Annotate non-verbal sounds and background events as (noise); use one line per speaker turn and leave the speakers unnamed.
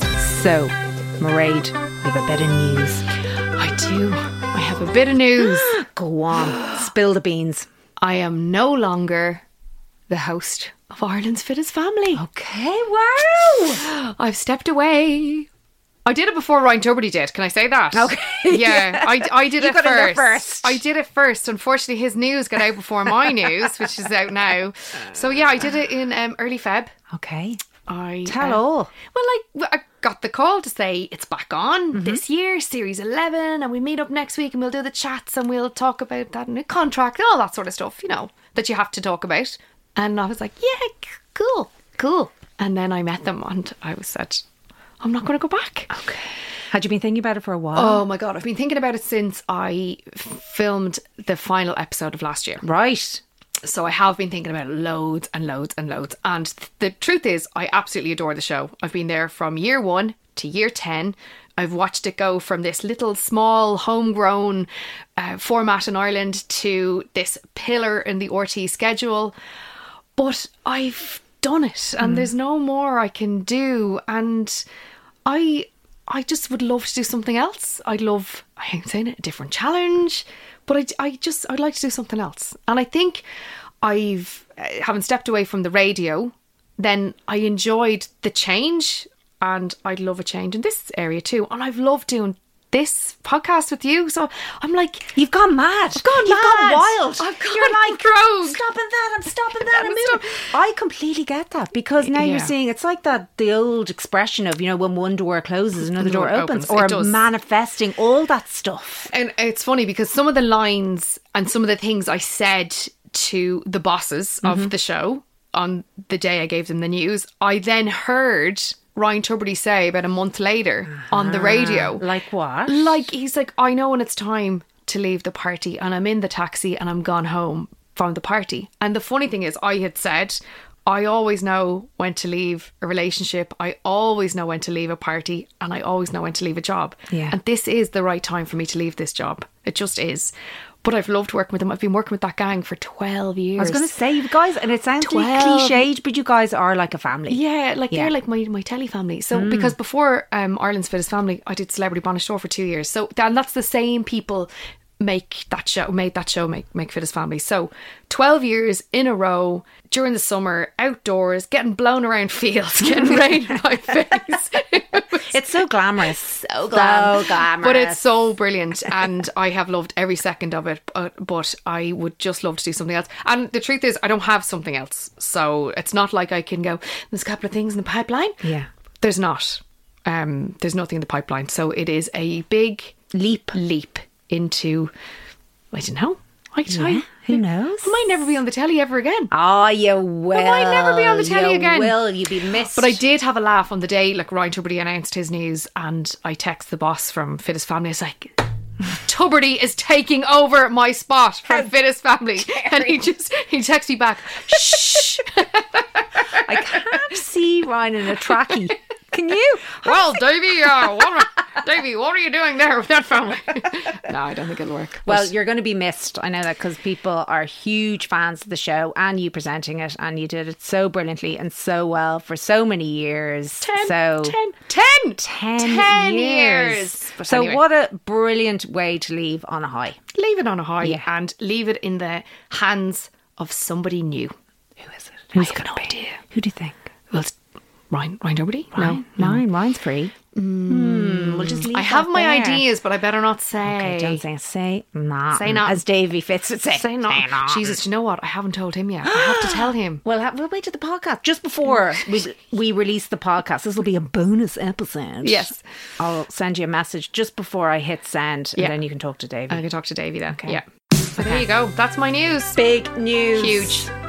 So, Mairead, we have a bit of news.
I do. I have a bit of news.
(gasps) Go on, (gasps) spill the beans.
I am no longer the host of Ireland's Fittest Family.
Oh. Okay, wow.
I've stepped away. I did it before Ryan Tuberty did. Can I say that?
Okay. (laughs)
Yeah, I, I did
You
it
got in there
first.
first.
I did it first. Unfortunately, his news got out before my news, which is out now. So yeah, I did it in um, early Feb.
Okay.
I
Tell
uh,
all.
Well, like I got the call to say it's back on
Mm-hmm.
this year, series eleven, and we meet up next week and we'll do the chats and we'll talk about that new contract and all that sort of stuff, you know, that you have to talk about. And I was like, yeah, c- cool, cool. And then I met them and I was said, I'm not going to go back. Okay.
Had you been thinking about it for a while?
Oh my god, I've been thinking about it since I f- filmed the final episode of last year.
Right.
So I have been thinking about it loads and loads and loads. And th- the truth is, I absolutely adore the show. I've been there from year one to year 10. I've watched it go from this little, small, homegrown uh, format in Ireland to this pillar in the RT schedule. But I've done it, and there's no more I can do. And I. I just would love to do something else. I'd love, I hate saying it, a different challenge, but I, I just, I'd like to do something else. And I think I've, uh, having stepped away from the radio, then I enjoyed the change and I'd love a change in this area too. And I've loved doing this podcast with you. So I'm like,
You've gone mad. I've
gone
You've
mad.
gone wild.
I've gone
You're like,
rogue.
stopping that. I'm stopping that. I'm
I'm
moving. I completely get that because now you're
Yeah.
seeing it's like that the old expression of, you know, when one door closes, another door
Another
opens,
opens. It
or
does.
manifesting all that stuff.
and it's funny because some of the lines and some of the things I said to the bosses of the show on the day I gave them the news, I then heard Ryan Tuberty say about a month later on the radio.
Like what?
Like he's like, I know when it's time to leave the party, and I'm in the taxi and I'm gone home from the party. And the funny thing is, I had said, I always know when to leave a relationship. I always know when to leave a party, and I always know when to leave a job.
Yeah.
And this is the right time for me to leave this job. It just is. But I've loved working with them. I've been working with that gang for twelve years.
I was going to say, you guys, and it sounds really
Twelve.
cliched, but you guys are like a family.
Yeah, like
Yeah. Mm.
they're like my, my telly family. So because before um, Ireland's Fittest Family, I did Celebrity Bonus Show for two years. So th- and that's the same people make that show made that show make make fittest family so 12 years in a row during the summer outdoors getting blown around fields (laughs) getting rain in my face (laughs)
It's so glamorous. (laughs) so,
glam.
glamorous.
But it's so brilliant, and I have loved every second of it. But, but I would just love to do something else. And the truth is, I don't have something else, so it's not like I can go. There's a couple of things in the pipeline.
Yeah.
there's not. Um, there's nothing in the pipeline, so it is a big
leap.
leap into. I don't know. I, I,
Who knows?
I might never be on the telly ever again.
Oh, you will.
I might never be on the telly
you
again.
Will you be missed?
But I did have a laugh on the day, like Ryan Tuberty announced his news, and I text the boss from Fittest Family. It's like, Tuberty is taking over my spot for Fittest Family, and he just he texted
(laughs)
me back. Shh.
I (laughs) can't see Ryan in a trackie. Can you?
well, Davy, uh, what are, Davy, what are you doing there with that family? (laughs) no, I don't think it'll work.
Well,
But
you're going to be missed. I know that because people are huge fans of the show and you presenting it, and you did it so brilliantly and so well for so many years. so
10, 10,
10
10
years.
years. But
So
anyway.
what a brilliant way to leave on a high.
leave it on a high
Yeah.
and leave it in the hands of somebody new.
Who is it? Who's
I have
going to
no
be?
idea.
Who do you think?
Well, it's Ryan, Ryan Tuberty? No.
Mine. Mine's free. Mm, we'll just leave
I have
that
my
there.
ideas, but I better not say.
Okay, don't say say not.
Say nothing.
As Davy Fitz would say.
Say not. Jesus, do you know what? I haven't told him yet. I have to tell
(gasps)
him.
Well, ha- we'll wait to the podcast just (laughs) before we we release the podcast. This will be a bonus episode.
Yes.
I'll send you a message just before I hit send,
Yeah.
and then you can talk to Davy.
I can talk to Davey then.
Okay.
Yeah. So there you go. That's my news.
Big news.
Huge.